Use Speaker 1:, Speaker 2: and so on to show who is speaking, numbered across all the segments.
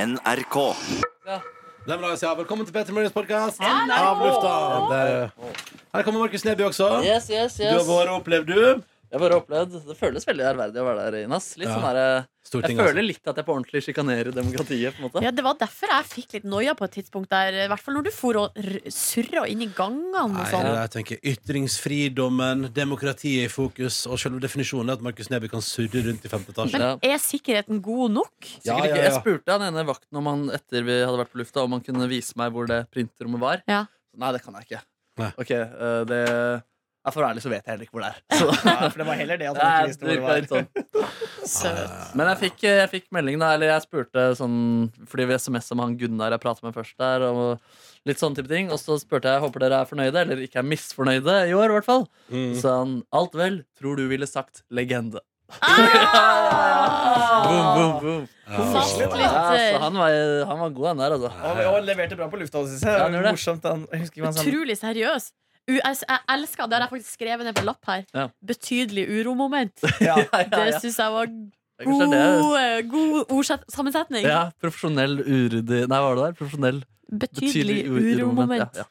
Speaker 1: NRK.
Speaker 2: Nei, men la oss si, altså, ja, Velkommen til Petter Morgens podkast.
Speaker 3: NRK.
Speaker 2: Av lufta. Der. Her kommer Markus Neby også.
Speaker 3: Yes, yes,
Speaker 2: Du har
Speaker 3: yes.
Speaker 2: vært og opplevd, du.
Speaker 3: Jeg har bare opplevd Det føles veldig ærverdig å være der inne. ass. Litt
Speaker 2: Ja. altså.
Speaker 3: sånn der, jeg
Speaker 2: Stortinget,
Speaker 3: føler litt at jeg på ordentlig sjikanerer demokratiet. på en måte
Speaker 4: Ja, Det var derfor jeg fikk litt noia på et tidspunkt der. I hvert fall når du for og r- surra inn i gangene og
Speaker 2: Nei,
Speaker 4: sånn.
Speaker 2: det er, jeg tenker Ytringsfridommen, demokratiet i fokus, og selve definisjonen er at Markus Neby kan surre rundt i femte etasje.
Speaker 4: Men er sikkerheten god nok?
Speaker 2: Ja,
Speaker 3: Sikkert
Speaker 2: ja,
Speaker 3: ikke.
Speaker 2: ja.
Speaker 3: Jeg spurte han ene vakten om han etter vi hadde vært på lufta Om han kunne vise meg hvor det printerommet var.
Speaker 4: Ja.
Speaker 3: Nei, det kan jeg ikke.
Speaker 2: Nei.
Speaker 3: Ok, eh, det ja, For å være ærlig så vet jeg heller ikke hvor det er.
Speaker 5: Ja, for det var heller det at
Speaker 3: Det
Speaker 5: han ikke
Speaker 3: er-
Speaker 5: visste
Speaker 3: det
Speaker 5: hvor det
Speaker 3: virka
Speaker 5: var.
Speaker 3: litt sånn.
Speaker 4: Søt.
Speaker 3: Men jeg fikk, jeg fikk melding, da. Eller jeg spurte sånn Fordi vi SMS om han Gunnar jeg pratet med først der. Og litt sånne type ting Og så spurte jeg håper dere er fornøyde eller ikke er misfornøyde i år. I hvert fall
Speaker 2: Mm.
Speaker 3: Så sa han alt vel, tror du ville sagt legende. Boom,
Speaker 4: Ah!
Speaker 3: boom, boom.
Speaker 4: Fast
Speaker 2: Ja.
Speaker 4: litt
Speaker 3: Ja, så
Speaker 4: eh,
Speaker 3: han var, han var god, han der, altså.
Speaker 5: Og, og leverte bra på lufta, synes
Speaker 3: Ja,
Speaker 5: jeg.
Speaker 3: han
Speaker 5: det
Speaker 3: gjorde
Speaker 5: var
Speaker 3: det.
Speaker 5: morsomt. Han, jeg husker ikke hva han sa.
Speaker 4: utrolig seriøs. U jeg, jeg elsker, Det har jeg faktisk skrevet ned på lapp her.
Speaker 3: Ja.
Speaker 4: Betydelig uromoment.
Speaker 5: Ja.
Speaker 3: Ja, ja,
Speaker 4: Det
Speaker 3: ja.
Speaker 4: syns jeg var
Speaker 3: Det er kanskje det.
Speaker 4: god, eh, god ordset- sammensetning.
Speaker 3: Ja, profesjonell uryddig Nei, hva var det der? Profesjonell
Speaker 4: Betydelig
Speaker 3: u-
Speaker 4: uromoment.
Speaker 3: Ja, ja.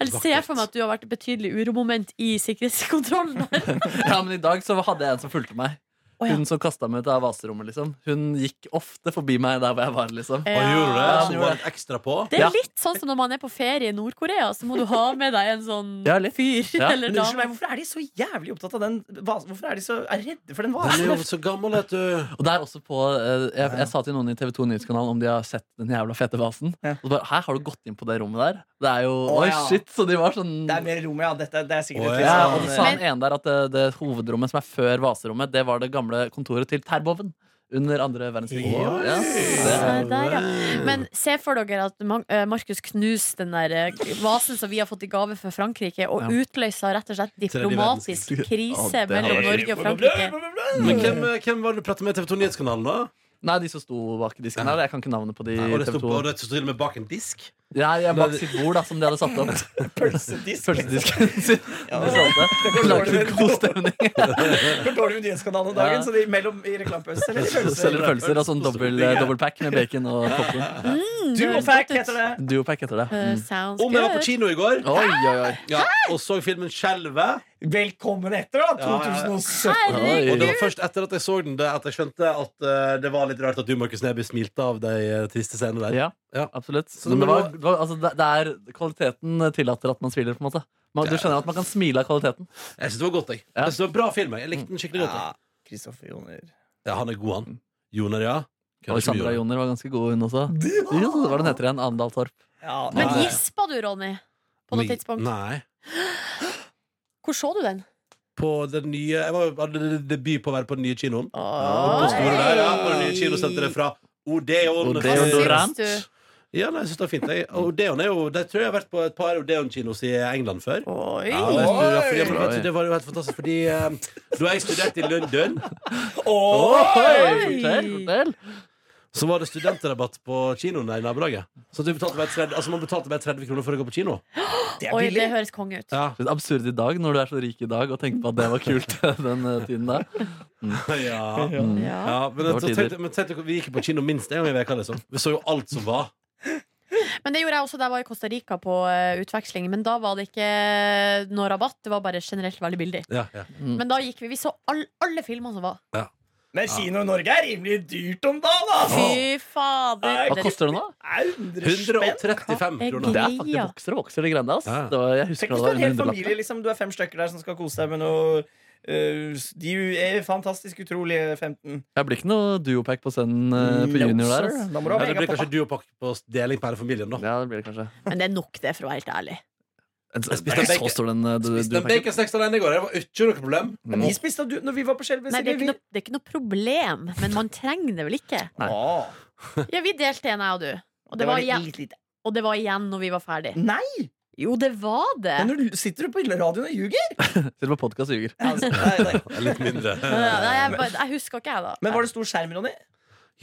Speaker 4: Eller ser jeg for meg at du har vært betydelig uromoment i sikkerhetskontrollen. der.
Speaker 3: ja, men i dag så hadde jeg en som fulgte meg.
Speaker 4: Å, ja.
Speaker 3: Hun som kasta meg ut av vaserommet, liksom. Hun gikk ofte forbi meg der hvor jeg var, liksom.
Speaker 2: Og gjorde du det?
Speaker 3: Ja, han
Speaker 2: Så
Speaker 3: gjorde
Speaker 2: var det ekstra på?
Speaker 4: Det er
Speaker 3: Ja.
Speaker 4: litt sånn som når man er på ferie i Nord-Korea, så må du ha med deg en sånn
Speaker 3: Ja, litt.
Speaker 4: fyr
Speaker 3: Ja.
Speaker 4: eller
Speaker 5: Men
Speaker 4: dame.
Speaker 5: unnskyld meg, hvorfor er de så jævlig opptatt av den vasen? Hvorfor er de så er redde for den
Speaker 2: Den er
Speaker 5: vasen?
Speaker 2: jo så gammel, vet du.
Speaker 3: Og der også på eh, jeg, jeg sa til noen i TV2 Nyhetskanalen om de har sett den jævla fete vasen.
Speaker 5: Ja.
Speaker 3: Og så bare Hæ, har du gått inn på det rommet der? Det er jo
Speaker 5: Å,
Speaker 3: Oi,
Speaker 5: ja.
Speaker 3: shit! Så de var sånn
Speaker 5: Det er mer rom, ja. Dette, det er sikkert
Speaker 2: Å,
Speaker 5: et
Speaker 3: ja,
Speaker 2: ja.
Speaker 3: og
Speaker 5: litt
Speaker 3: så
Speaker 5: sånn-
Speaker 3: sa han ene der at det, det hovedrommet som er før vaserommet, det var det gamle kontoret til Terboven under andre verdenskrig.
Speaker 2: Oi.
Speaker 3: Ja, det
Speaker 4: Ja, der, ja. Men se for dere at Ma- eh, Markus knuste den der eh, vasen som vi har fått i gave fra Frankrike, og
Speaker 3: Ja.
Speaker 4: utløsa rett og slett diplomatisk
Speaker 3: Å,
Speaker 4: krise
Speaker 3: det hadde
Speaker 4: mellom
Speaker 3: vært-
Speaker 4: Norge og Frankrike.
Speaker 5: eh,
Speaker 2: Men hvem, eh, hvem var det du pratet med i TV 2 Nyhetskanalen, da?
Speaker 3: Nei, de som sto bak disken der. Jeg kan ikke navnet på de.
Speaker 2: Og det sto
Speaker 3: TV2.
Speaker 2: og det sto til og med bak en disk?
Speaker 3: Nei, jeg bak sitt bord, da, som de hadde satt opp.
Speaker 5: Pølsedisk.
Speaker 3: Pølsedisken sin.
Speaker 5: Ja.
Speaker 3: De satte.
Speaker 5: går
Speaker 3: Lagde
Speaker 5: dårlig.
Speaker 3: en god stemning.
Speaker 5: Det går dårlig med nyhetskanalen om dagen,
Speaker 3: Ja.
Speaker 5: så det er mellom i reklamepauser eller i pølser.
Speaker 3: Selger pølser og sånn dobbel, dobbeltpack med bacon og popkorn.
Speaker 5: Duopack heter det.
Speaker 3: Duopack heter det.
Speaker 4: Eh,
Speaker 3: Mm.
Speaker 4: sounds
Speaker 2: Om jeg var på
Speaker 4: good.
Speaker 2: kino i går
Speaker 3: Oi, oi, oi.
Speaker 2: ja, og så filmen 'Skjelvet'.
Speaker 5: Velkommen etter, da!
Speaker 2: Ja, ja, ja.
Speaker 5: 2017.
Speaker 3: Oi.
Speaker 4: Herregud.
Speaker 2: Og det var først etter at jeg så den, det, at jeg skjønte at eh, det var litt rart at du, Markus Neby, smilte av de eh, triste scenene der.
Speaker 3: Ja,
Speaker 2: Ja.
Speaker 3: absolutt.
Speaker 2: Så
Speaker 3: Men
Speaker 2: det
Speaker 3: det,
Speaker 2: må-
Speaker 3: var, det var, altså, det, det er, kvaliteten tillater at man smiler, på en måte. Man, du skjønner at man kan smile av kvaliteten.
Speaker 2: Jeg synes det var godt, jeg.
Speaker 3: Ja.
Speaker 2: Jeg synes det var Bra film. Jeg Jeg likte den skikkelig godt. jeg.
Speaker 5: Kristoffer Joner.
Speaker 2: Ja, han er god, han. Joner, ja.
Speaker 3: Og Sandra Joner var ganske god, hun også. Jo, hva var det hun heter igjen? Andal Torp.
Speaker 5: Ja,
Speaker 4: Men
Speaker 5: nei.
Speaker 4: gispa du, Ronny? På noe tidspunkt.
Speaker 2: Nei.
Speaker 4: Hvor så du den?
Speaker 2: På den nye Jeg var, hadde debut på å være på den nye kinoen. På
Speaker 4: Åh.
Speaker 2: store der, ja. På det nye kinosenteret fra Odeon.
Speaker 3: Odeon
Speaker 4: Hva
Speaker 3: Deodorant.
Speaker 4: syns du?
Speaker 2: Ja, nei, jeg synes det er fint. Jeg, Odeon er jo Der tror jeg jeg har vært på et par Odeon-kinos i England før.
Speaker 4: Oi.
Speaker 2: Ja, men jeg tror- ja, fordi,
Speaker 5: Oi!
Speaker 2: men vet du, det var jo helt fantastisk, fordi eh, da jeg studerte i London
Speaker 3: Oi! Fortell, fortell.
Speaker 2: så var det studentrabatt på kinoen der i nabolaget. Så du betalte bare 30, altså man betalte bare 30 kroner for å gå på kino.
Speaker 5: Det er
Speaker 4: Oi,
Speaker 5: billig.
Speaker 4: det høres konge ut.
Speaker 2: Ja.
Speaker 3: Litt absurd i dag, når du er så rik i dag, og tenker på at det var kult den eh, tiden der.
Speaker 2: Ja.
Speaker 4: Ja.
Speaker 2: Ja, men,
Speaker 3: Det var
Speaker 2: så
Speaker 3: tider.
Speaker 2: tenkte, men tenkte, vi gikk jo på kino minst en gang i veka liksom. Vi så jo alt som var.
Speaker 4: Men det gjorde jeg også da jeg var i Costa Rica på eh, utveksling. Men da var det ikke noe rabatt, det var bare generelt veldig billig.
Speaker 2: Ja, ja.
Speaker 4: Men da gikk vi, vi så all, alle filmene som var.
Speaker 5: Men kino i Norge er rimelig dyrt om dagen, altså. da!
Speaker 4: Fy fader!
Speaker 3: Hva koster det nå?
Speaker 5: Er 100 spenn?
Speaker 2: 135
Speaker 4: Hva er
Speaker 2: kroner.
Speaker 3: Det er faktisk
Speaker 4: Ja.
Speaker 3: vokser og vokser, de greiene der. ass.
Speaker 2: Ja.
Speaker 3: Det var, jeg husker
Speaker 5: Tenk
Speaker 3: det
Speaker 5: hvis du
Speaker 3: var
Speaker 5: er en hel
Speaker 3: under
Speaker 5: familie, liksom. Du er fem stykker der som skal kose deg med noe øh, De er fantastisk utrolige 15.
Speaker 3: Jeg blir ikke noe duopack på scenen eh, på junior der.
Speaker 5: Josef, Da må du ha
Speaker 2: Ja, det blir
Speaker 5: megapappa.
Speaker 2: kanskje du og pakke på deling på hele familien, da.
Speaker 3: Ja, det blir det kanskje.
Speaker 4: Men det er nok det, for å være helt ærlig.
Speaker 3: Jeg spiste ikke
Speaker 2: bacon.
Speaker 3: så stor den eh, du-
Speaker 2: Spiste en
Speaker 3: duopacken.
Speaker 2: baconsnacks alene i går. Det var ikke noe problem.
Speaker 5: Men Vi spiste av du når vi var på Skjelvet.
Speaker 4: Nei, det, er
Speaker 5: Sigrid,
Speaker 4: ikke noe, det er ikke noe problem, men man trenger det vel ikke?
Speaker 5: vi-
Speaker 3: Nei.
Speaker 5: Åh,
Speaker 4: Ja, vi delte en, jeg og du. Og det, var
Speaker 5: litt-
Speaker 4: igjen,
Speaker 5: litt lite.
Speaker 4: og det var igjen når vi var ferdig.
Speaker 5: Nei!
Speaker 4: Jo, det var det!
Speaker 5: Men nå sitter du på radioen og ljuger!
Speaker 3: Sitter på podcast og ljuger.
Speaker 5: Altså, nei, nei.
Speaker 2: Litt mindre.
Speaker 4: Nei, jeg, bare- jeg husker ikke, jeg, da.
Speaker 5: Men var det stor skjerm, Ronny?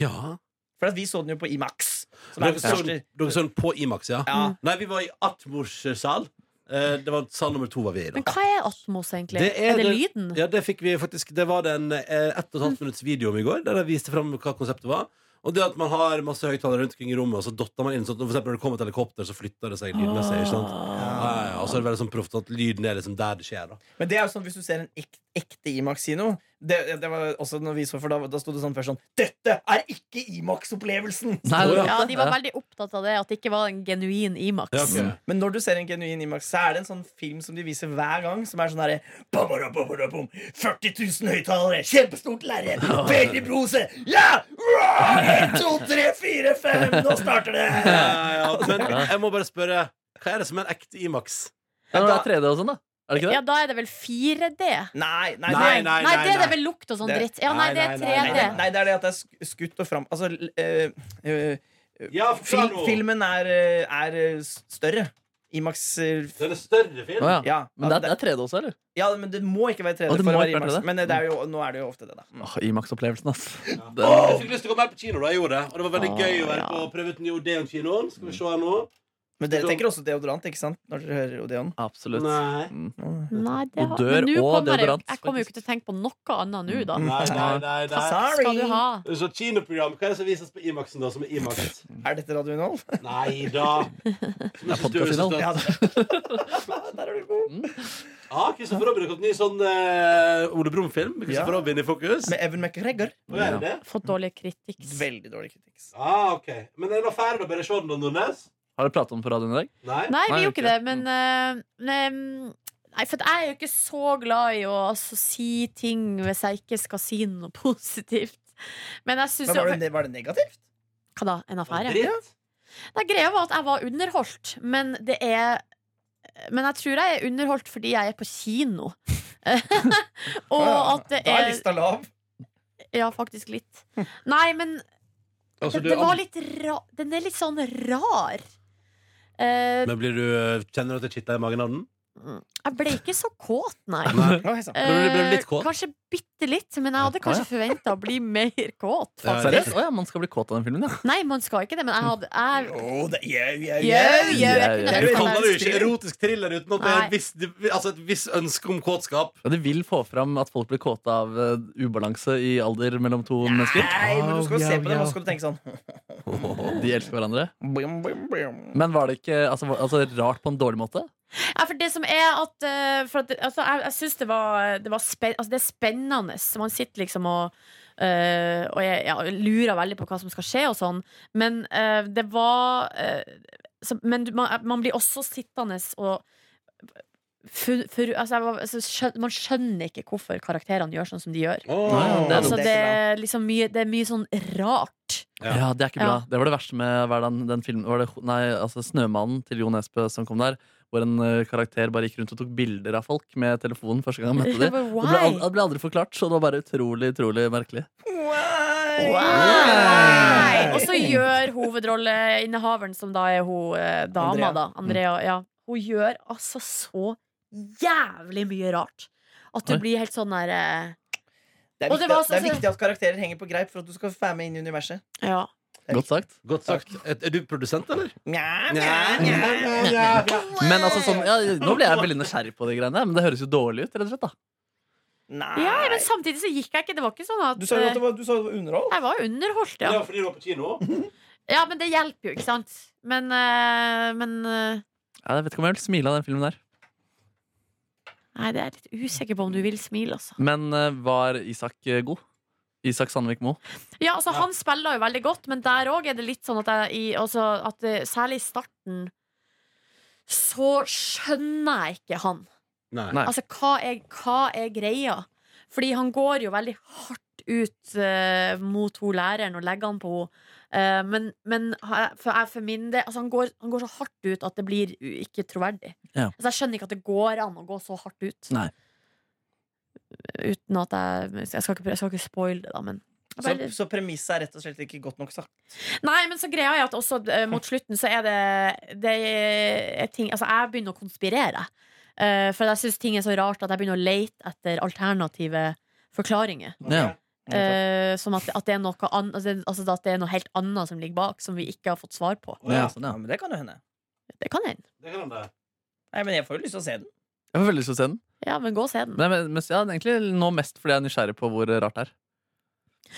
Speaker 2: Ja.
Speaker 5: For at vi så den jo på Imax. Som er
Speaker 2: Dere
Speaker 5: den
Speaker 2: så
Speaker 5: største.
Speaker 2: den dere så den på Imax, ja?
Speaker 5: Ja.
Speaker 2: Nei, vi var i Atmors sal. Eh, Det var sal nummer to var vi i. da
Speaker 4: Men hva er Atmos, egentlig?
Speaker 2: Det er
Speaker 4: er, det
Speaker 2: det-
Speaker 4: lyden?
Speaker 2: Ja, det fikk vi faktisk Det var det en eh, ett og et halvt minutts video om i går, der jeg viste fram hva konseptet var. Og det at man har masse høyttalere rundt omkring i rommet, og så dotter man inn sånn at for eksempel når det kommer et helikopter, så flytter det seg lydmessig. Ikke sant?
Speaker 3: Ah.
Speaker 2: Ja, ja, ja. Og så er det veldig sånn proft at lyden er liksom der det skjer. Da.
Speaker 5: Men det er jo sånn hvis du ser en ek, ekte Imax-kino det, det var også når vi så for Da, da sto det sånn først sånn Dette er ikke Imax-opplevelsen!
Speaker 3: Nei, det-
Speaker 4: Ja, de var veldig opptatt av det, at det ikke var en genuin Imax.
Speaker 2: Ja, ok.
Speaker 5: Men når du ser en genuin IMAX, så er det en sånn film som de viser hver gang. Som er sånn herre 40 000 høyttalere, kjempestort lerret, veldig brose. Ja! Uah! En, to, tre, fire, fem, nå starter det!
Speaker 2: Ja, ja, Men jeg må bare spørre, hva er det som er en ekte Imax?
Speaker 3: Ja, men det er 3D og sånn, da. Er det ikke det?
Speaker 4: Ja, da er det vel 4D?
Speaker 5: Nei, nei,
Speaker 2: Nei,
Speaker 5: det,
Speaker 2: nei,
Speaker 4: Nei, det er det
Speaker 2: nei.
Speaker 4: vel lukt og sånn
Speaker 5: Det-
Speaker 4: dritt. Ja, nei, det er
Speaker 2: Nei, nei,
Speaker 5: nei, nei,
Speaker 4: 3D.
Speaker 5: nei, det er det at det er sk- skutt og fram... Altså, l- eh, eh,
Speaker 2: Ja,
Speaker 5: fil, filmen er, eh, er eh, større. IMAX eh, f-
Speaker 2: Den er større film.
Speaker 3: Å, ja.
Speaker 5: ja,
Speaker 3: Men det er, det er 3D også, eller?
Speaker 5: ja, men det må ikke være 3D
Speaker 3: Å, det
Speaker 5: for å
Speaker 3: må
Speaker 5: være
Speaker 3: ikke være
Speaker 5: IMAX.
Speaker 3: 3D.
Speaker 5: Men eh, det er jo, nå er det jo ofte det, da. Mm.
Speaker 3: Åh, Imax-opplevelsen, ass. Det,
Speaker 2: Jeg fikk lyst til å gå mer på kino da jeg gjorde det. Og det var veldig
Speaker 3: Ah,
Speaker 2: gøy å være
Speaker 4: ja.
Speaker 2: på prøve ut den nye Odeon-kinoen. Skal vi se her nå?
Speaker 5: Men dere tenker også deodorant, ikke sant? Når dere hører Odeon.
Speaker 3: absolutt.
Speaker 2: Nei.
Speaker 3: Mm.
Speaker 4: Nei, det
Speaker 3: Du
Speaker 4: har,
Speaker 3: dør
Speaker 4: men nå
Speaker 3: og
Speaker 4: kommer jeg,
Speaker 3: deodorant,
Speaker 4: jeg kommer
Speaker 3: faktisk.
Speaker 4: jo ikke til å tenke på noe annet nå, da.
Speaker 2: Nei, nei, nei, nei.
Speaker 5: Sorry.
Speaker 4: Skal du ha?
Speaker 2: Så sånn kinoprogram, hva er det som vises på Imaxen da, som er Imax?
Speaker 5: Er dette Radio Innhold?
Speaker 2: Nei da.
Speaker 3: er podcast-innhold.
Speaker 5: Ja,
Speaker 2: Ja,
Speaker 5: der er du god.
Speaker 2: Kristoffer ah, Robin har fått ny sånn eh, Ole Brumm-film. med Kristoffer
Speaker 5: Ja.
Speaker 2: Robin i fokus.
Speaker 5: Med Evan McGregor.
Speaker 2: Hva er det?
Speaker 4: Fått dårlig kritikk.
Speaker 5: Veldig dårlig kritikk.
Speaker 2: Ah, ok. Men er det noe ferdig å bare se den, da, Nordnes?
Speaker 3: Har dere pratet om på radioen i dag?
Speaker 2: Nei?
Speaker 4: Nei, vi
Speaker 3: Nei,
Speaker 4: gjorde
Speaker 3: ikke.
Speaker 4: ikke det, men eh, men, Nei, for jeg er jo ikke så glad i å altså, si ting hvis jeg ikke skal si noe positivt. Men jeg syns
Speaker 5: Men
Speaker 4: jo
Speaker 5: var det, var det negativt?
Speaker 4: Hva da? En affære?
Speaker 2: Dritt?
Speaker 4: Nei, greia var at jeg var underholdt, men det er men jeg tror jeg er underholdt fordi jeg er på kino. og at det
Speaker 5: Da er
Speaker 4: er
Speaker 5: lista lav.
Speaker 4: Ja, faktisk litt. Nei, men
Speaker 2: Altså, du-
Speaker 4: det var litt ra den er litt sånn rar. Eh,
Speaker 2: Men blir du, Kjenner du at det kitter i magen av den?
Speaker 4: jeg ble ikke så kåt, nei. Eh,
Speaker 2: Nei.
Speaker 5: Oi, sann.
Speaker 2: Men du ble litt kåt?
Speaker 4: kanskje bitte litt, men jeg
Speaker 3: Ah,
Speaker 4: hadde
Speaker 3: ja.
Speaker 4: kanskje forventa å bli mer kåt.
Speaker 2: Ja,
Speaker 4: Faktisk.
Speaker 3: Seriøst? Å ja, man skal bli kåt av den filmen, ja.
Speaker 4: Nei, man skal ikke det, men jeg hadde jeg,
Speaker 5: Å, det- yeah, yeah,
Speaker 4: Eh, Jau,
Speaker 5: yeah.
Speaker 4: jau, jeg
Speaker 3: Ja, ja.
Speaker 4: kunne
Speaker 2: Du
Speaker 4: ønske meg-
Speaker 2: kaller det jo ikke erotisk thriller uten at det er
Speaker 4: Nei.
Speaker 2: et visst, altså et visst ønske om kåtskap.
Speaker 3: ja. Det vil få fram at folk blir kåte av eh, ubalanse i alder mellom to mennesker.
Speaker 5: Nei, men du skal jo
Speaker 2: Jau,
Speaker 5: se på dem,
Speaker 2: jau.
Speaker 5: og så skal du tenke sånn
Speaker 3: De elsker hverandre.
Speaker 5: brum, brum, brum.
Speaker 3: Men var det ikke altså, var- altså, rart på en dårlig måte?
Speaker 4: Ja, for det som er at, eh, for at altså, Jeg, jeg syns det var, det var spen, altså, Det er spennende. Så man sitter liksom og eh, Og jeg, ja, lurer veldig på hva som skal skje og sånn. Men eh, det var eh, så, Men du- man, eh, man blir også sittende og fu- fur- altså, jeg var, altså, skjøn, Man skjønner ikke hvorfor karakterene gjør sånn som de gjør.
Speaker 2: Åh.
Speaker 3: Nei,
Speaker 4: Altså,
Speaker 5: det er
Speaker 4: det, er liksom mye, det er mye sånn rart.
Speaker 2: Ja.
Speaker 3: Ja, Det er ikke bra. Det var det verste med hva er den, den filmen var det, Nei, altså Snømannen til Jo Nesbø som kom der. Hvor en eh, karakter bare gikk rundt og tok bilder av folk med telefonen. første gang han møtte dem.
Speaker 4: But
Speaker 3: Det ble,
Speaker 4: Why?
Speaker 3: aldri, det ble aldri forklart, så det var bare utrolig utrolig merkelig.
Speaker 5: Why?
Speaker 4: Why? Og så gjør hovedrolleinnehaveren, som da er hun eh, dama,
Speaker 5: Andrea.
Speaker 4: da, Andrea,
Speaker 5: Mm.
Speaker 4: ja, hun gjør altså så jævlig mye rart. At du
Speaker 3: Oi.
Speaker 4: blir helt sånn der eh,
Speaker 5: Det er,
Speaker 4: Og det
Speaker 5: viktig,
Speaker 4: var
Speaker 5: at- det er
Speaker 4: sånn-
Speaker 5: viktig at karakterer henger på greip for at du skal være med inn i universet.
Speaker 4: Ja.
Speaker 3: Godt sagt.
Speaker 2: Godt sagt. Er, er du produsent, eller?
Speaker 5: Nja,
Speaker 2: Nja,
Speaker 5: nja, nja.
Speaker 3: Men altså sånn, ja, Nå ble jeg veldig nysgjerrig på de greiene, men det høres jo dårlig ut. rett og slett da
Speaker 4: ja,
Speaker 5: Nei.
Speaker 4: men samtidig så gikk jeg ikke. Det var ikke sånn at
Speaker 5: Du sa jo at
Speaker 4: eh,
Speaker 5: det var, du sa det var underhold.
Speaker 4: jeg var underholdt,
Speaker 2: Det
Speaker 4: ja.
Speaker 2: var fordi du var på kino.
Speaker 4: Ja, men det hjelper jo, ikke sant? Men, eh, men eh,
Speaker 3: Ja, Jeg vet ikke om jeg vil smile av den filmen der.
Speaker 4: Nei, det er jeg litt usikker på om du vil smile, altså.
Speaker 3: Men eh, var Isak eh, god? Isak Sandvik Moe.
Speaker 4: Ja, altså
Speaker 2: Ja.
Speaker 4: Han spiller jo veldig godt, men der òg er det litt sånn at, jeg, i, altså, at det, Særlig i starten så skjønner jeg ikke han.
Speaker 2: Nei.
Speaker 3: Nei.
Speaker 4: Altså, hva er, hva er greia? Fordi han går jo veldig hardt ut eh, mot hun læreren og legger han på henne. Eh, men men ha- for, jeg, for min del altså, han, går, han går så hardt ut at det blir u- ikke troverdig.
Speaker 3: Ja.
Speaker 4: Altså, jeg skjønner ikke at det går an å gå så hardt ut.
Speaker 3: Nei.
Speaker 4: Uten at jeg Jeg skal ikke, jeg skal ikke spoile det, da, men
Speaker 5: Så, så premisset er rett og slett ikke godt nok sagt.
Speaker 4: Nei, men så greia er at også eh, mot slutten så er det, det er ting, Altså, jeg begynner å konspirere. Eh, for jeg syns ting er så rart at jeg begynner å lete etter alternative forklaringer.
Speaker 3: Ja.
Speaker 4: Eh, som at, at, det er noe an, altså, det- altså at det er noe helt annet som ligger bak, som vi ikke har fått svar på.
Speaker 2: Å, ja.
Speaker 3: sånn,
Speaker 5: Ja, men det kan jo hende.
Speaker 4: Det kan hende.
Speaker 2: Det kan hende.
Speaker 5: Nei, men jeg får jo lyst til å se den.
Speaker 3: Jeg får veldig lyst til å se den.
Speaker 4: Ja, men gå og se den.
Speaker 3: Men, men, men ja, egentlig nå mest fordi jeg er nysgjerrig på hvor eh, rart det er.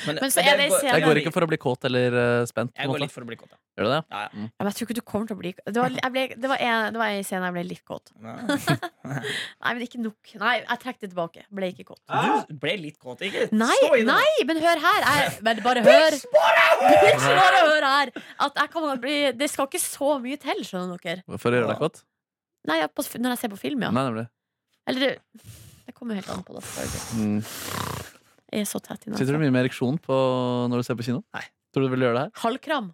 Speaker 4: Men så er det i
Speaker 3: Jeg
Speaker 4: serien-
Speaker 3: går ikke for å bli kåt eller eh, spent. På
Speaker 5: Jeg
Speaker 3: en
Speaker 5: går
Speaker 3: måte.
Speaker 5: litt for å bli kåt, ja.
Speaker 3: Gjør du det?
Speaker 5: Ja, ja.
Speaker 4: Ja, men jeg tror ikke du kommer til å bli Det var, jeg ble, det var, en, det var en scene jeg ble litt kåt. Nei, men ikke nok. Nei, jeg trekker det tilbake. Ble ikke kåt.
Speaker 5: Du ble litt kåt, ikke?
Speaker 4: Nei,
Speaker 5: Stå i det.
Speaker 4: nei, men hør her. Jeg, men bare hør. Bitch, bare hør her. At jeg kan bli, det skal ikke så mye til, skjønner dere.
Speaker 3: For å gjøre deg kåt?
Speaker 4: Nei, jeg, på, Når jeg ser på film, ja.
Speaker 3: Nei, nemlig.
Speaker 4: Eller det- Det kommer jo helt an på det. selvfølgelig.
Speaker 3: Mm.
Speaker 4: Jeg er så tett i
Speaker 3: Sitter du
Speaker 4: nesa.
Speaker 3: mye med ereksjon på når du ser på kino?
Speaker 5: Nei.
Speaker 3: Tror du du vil gjøre det her?
Speaker 4: Halvkram.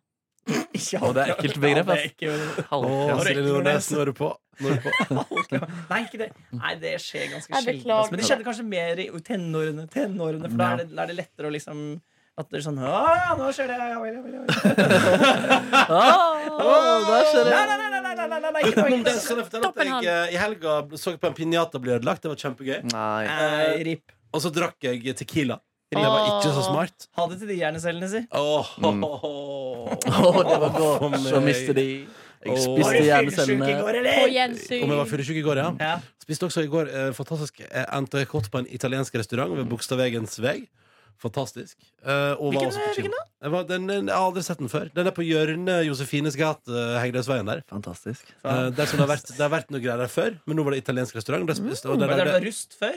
Speaker 5: Ikke
Speaker 3: Å, det er ekkelt begrep,
Speaker 5: Ja, det er
Speaker 3: ass.
Speaker 5: ikke-
Speaker 2: Å,
Speaker 3: Halvkram.
Speaker 5: det er
Speaker 2: Silje
Speaker 5: ikke noe
Speaker 2: Nordnes, nå er du på. Nå er du på.
Speaker 5: Nei, ikke det. Nei, det skjer ganske
Speaker 4: Jeg
Speaker 5: sjelden.
Speaker 4: beklager.
Speaker 5: ass. Men det skjedde kanskje mer i tenårene, tenårene for da er, det, da er det lettere å liksom At det er sånn Å ja, nå skjer det! Ja, vel, ja, vel, ja, vel.
Speaker 4: Ah!
Speaker 3: Å, der skjer det.
Speaker 5: Nei, nei, nei, nei, nei, nei, nei, nei, ikke
Speaker 2: Men
Speaker 5: poeng.
Speaker 2: det skal jeg fortelle at
Speaker 4: Toppen
Speaker 2: jeg eh, i helga så på en pinjata bli ødelagt. Det var kjempegøy.
Speaker 3: Nei.
Speaker 5: Eh, Rip.
Speaker 2: Og så drakk jeg tequila. Det var ikke så smart.
Speaker 5: Ha det til de hjernecellene, si.
Speaker 2: Åh,
Speaker 3: Mm.
Speaker 2: ho, ho, ho.
Speaker 3: Å, det var
Speaker 2: For
Speaker 3: godt.
Speaker 2: meg.
Speaker 3: Så mister de.
Speaker 2: Åh.
Speaker 3: Jeg
Speaker 5: Var
Speaker 3: spiste
Speaker 5: du fyllesyk i
Speaker 3: hjernecellene.
Speaker 4: På
Speaker 5: går, eller?
Speaker 4: gjensyn.
Speaker 2: Om jeg var fyllesyk i går, ja.
Speaker 5: Ja.
Speaker 2: Spiste også i går eh, fantastisk eh, entrecôte på en italiensk restaurant ved Bogstadvegens vei. Fantastisk. Eh, og var
Speaker 5: Hvilken-
Speaker 2: også på
Speaker 5: hvilken
Speaker 2: kino. Jeg var- Den, den, jeg har aldri sett den før. Den er på hjørnet Josefines gate, eh, Hegdehaugsveien der.
Speaker 3: Fantastisk.
Speaker 2: Eh, der som det, har vært, det har vært noe greier der før, men nå var det italiensk restaurant. Der spiste, og der
Speaker 5: Mm. Var det der du
Speaker 2: lagde-
Speaker 5: var rust før?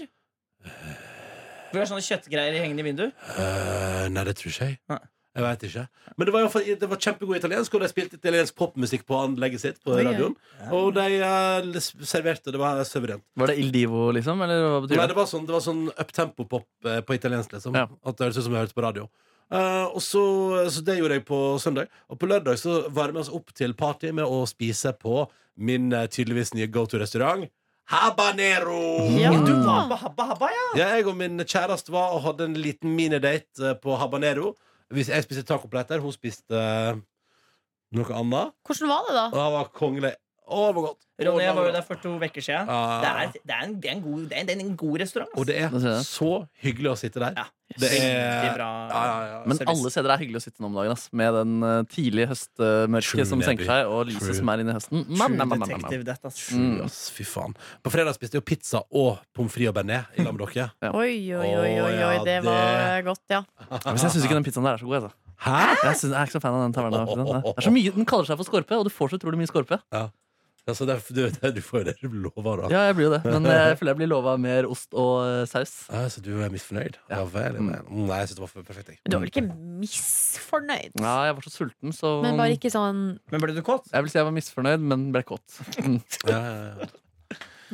Speaker 5: Hvor det er sånne kjøttgreier hengende i vinduet?
Speaker 2: Eh, nei, det tror ikke jeg.
Speaker 5: Nei.
Speaker 2: Jeg vet ikke. Men det var, i hvert fall- det var kjempegod italiensk, og de spilte italiensk popmusikk på anlegget sitt. På
Speaker 4: Oi, oi.
Speaker 2: radioen Og de eh, serverte. Det var suverent.
Speaker 3: Var det Il Divo, liksom? Eller hva betyr
Speaker 2: Nei,
Speaker 3: det?
Speaker 2: det var sånn, det var sånn uptempo-pop eh, på italiensk, liksom.
Speaker 3: Ja.
Speaker 2: At det høres ut som jeg hørte på radio. Eh, og så, så det gjorde jeg på søndag. Og på lørdag så varmer vi oss opp til party med å spise på min eh, tydeligvis nye go to-restaurant. Habanero!
Speaker 4: Ja.
Speaker 5: Du var på Habba Habba, ja!
Speaker 2: Ja, jeg og min kjæreste var og hadde en liten minidate eh, på Habanero. Hvis Jeg spiste tacopletter, hun spiste eh, noe annet.
Speaker 4: Hvordan var det,
Speaker 2: Og
Speaker 4: da?
Speaker 2: det var kongelig. Å, det var godt. Å,
Speaker 5: Ronny,
Speaker 2: det
Speaker 5: jeg var jo
Speaker 2: godt.
Speaker 5: der for to uker siden.
Speaker 2: Ja.
Speaker 5: Det er, det er, en, det er, en, god, det er en, det er en god restaurant. ass.
Speaker 2: Og det
Speaker 3: Da ser
Speaker 2: er
Speaker 3: jeg.
Speaker 2: så hyggelig å sitte der.
Speaker 5: Ja.
Speaker 2: Det
Speaker 5: Veldig
Speaker 2: er
Speaker 5: bra.
Speaker 2: ja, ja, ja.
Speaker 3: Men
Speaker 5: Service.
Speaker 3: alle steder er hyggelig å sitte nå om dagen. Ass. Med den eh, tidlige høstmørket
Speaker 2: True,
Speaker 3: som senker
Speaker 2: Nebby.
Speaker 3: seg, og lyset
Speaker 2: True.
Speaker 3: som er inne i høsten. Nam,
Speaker 5: True
Speaker 3: nam, nam, nam, nam.
Speaker 5: detective, dette, ass.
Speaker 2: Fy, ass, fy faen. På fredag spiste jeg jo pizza og pommes frites og bearnés i lag med dere.
Speaker 4: Oi, oi, oi, oi,
Speaker 2: Å,
Speaker 4: oi
Speaker 2: ja,
Speaker 4: det
Speaker 2: det-
Speaker 4: var godt, ja.
Speaker 3: Ja, men Jeg syns ikke den pizzaen der er så god. Altså.
Speaker 2: Hæ?
Speaker 3: Jeg, synes, jeg er ikke så fan av den taverna. Det er så mye, den kaller seg for skorpe, og du får så utrolig mye skorpe.
Speaker 2: Altså, det, er- du, det, du får jo det du lover, da.
Speaker 3: Ja, jeg blir jo det, men eh, jeg føler jeg blir lova mer ost og eh, saus.
Speaker 2: Ah, så du er misfornøyd? Ja, vel. ja, vel. Mm, Nei, jeg syns det var for perfekt. Jeg.
Speaker 4: Men du var vel ikke misfornøyd?
Speaker 3: Ja, jeg var så sulten, så
Speaker 4: Men bare ikke sånn
Speaker 5: Men ble du kåt?
Speaker 3: Jeg vil si jeg var misfornøyd, men ble kåt. Mm.
Speaker 2: Ja, ja, ja.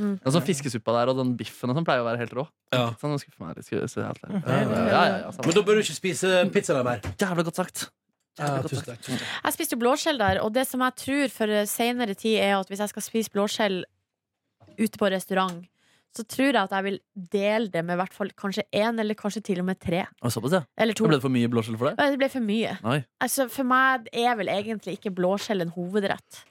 Speaker 3: Den sånn fiskesuppa der og den biffen og sånn pleier å være helt rå.
Speaker 2: Ja.
Speaker 3: Sånn, nå skuffer meg litt, skulle jeg si alt det.
Speaker 2: Ja, ja, ja.
Speaker 3: Ja, ja, ja,
Speaker 2: Men
Speaker 3: samme.
Speaker 2: da bør du ikke spise pizza der mer.
Speaker 3: Jævla godt sagt.
Speaker 2: Ja,
Speaker 3: Jævla godt
Speaker 2: tusen
Speaker 3: sagt.
Speaker 2: takk. tusen takk.
Speaker 4: Jeg spiste jo blåskjell der, og det som jeg tror for senere tid er at hvis jeg skal spise blåskjell ute på restaurant, så tror jeg at jeg vil dele det med i hvert fall kanskje én eller kanskje til og med tre.
Speaker 3: Og Såpass, ja.
Speaker 4: Eller to.
Speaker 3: Ble det for mye blåskjell for deg?
Speaker 4: Ja, Det ble for mye.
Speaker 3: Nei.
Speaker 4: Altså, for meg er vel egentlig ikke blåskjell en hovedrett.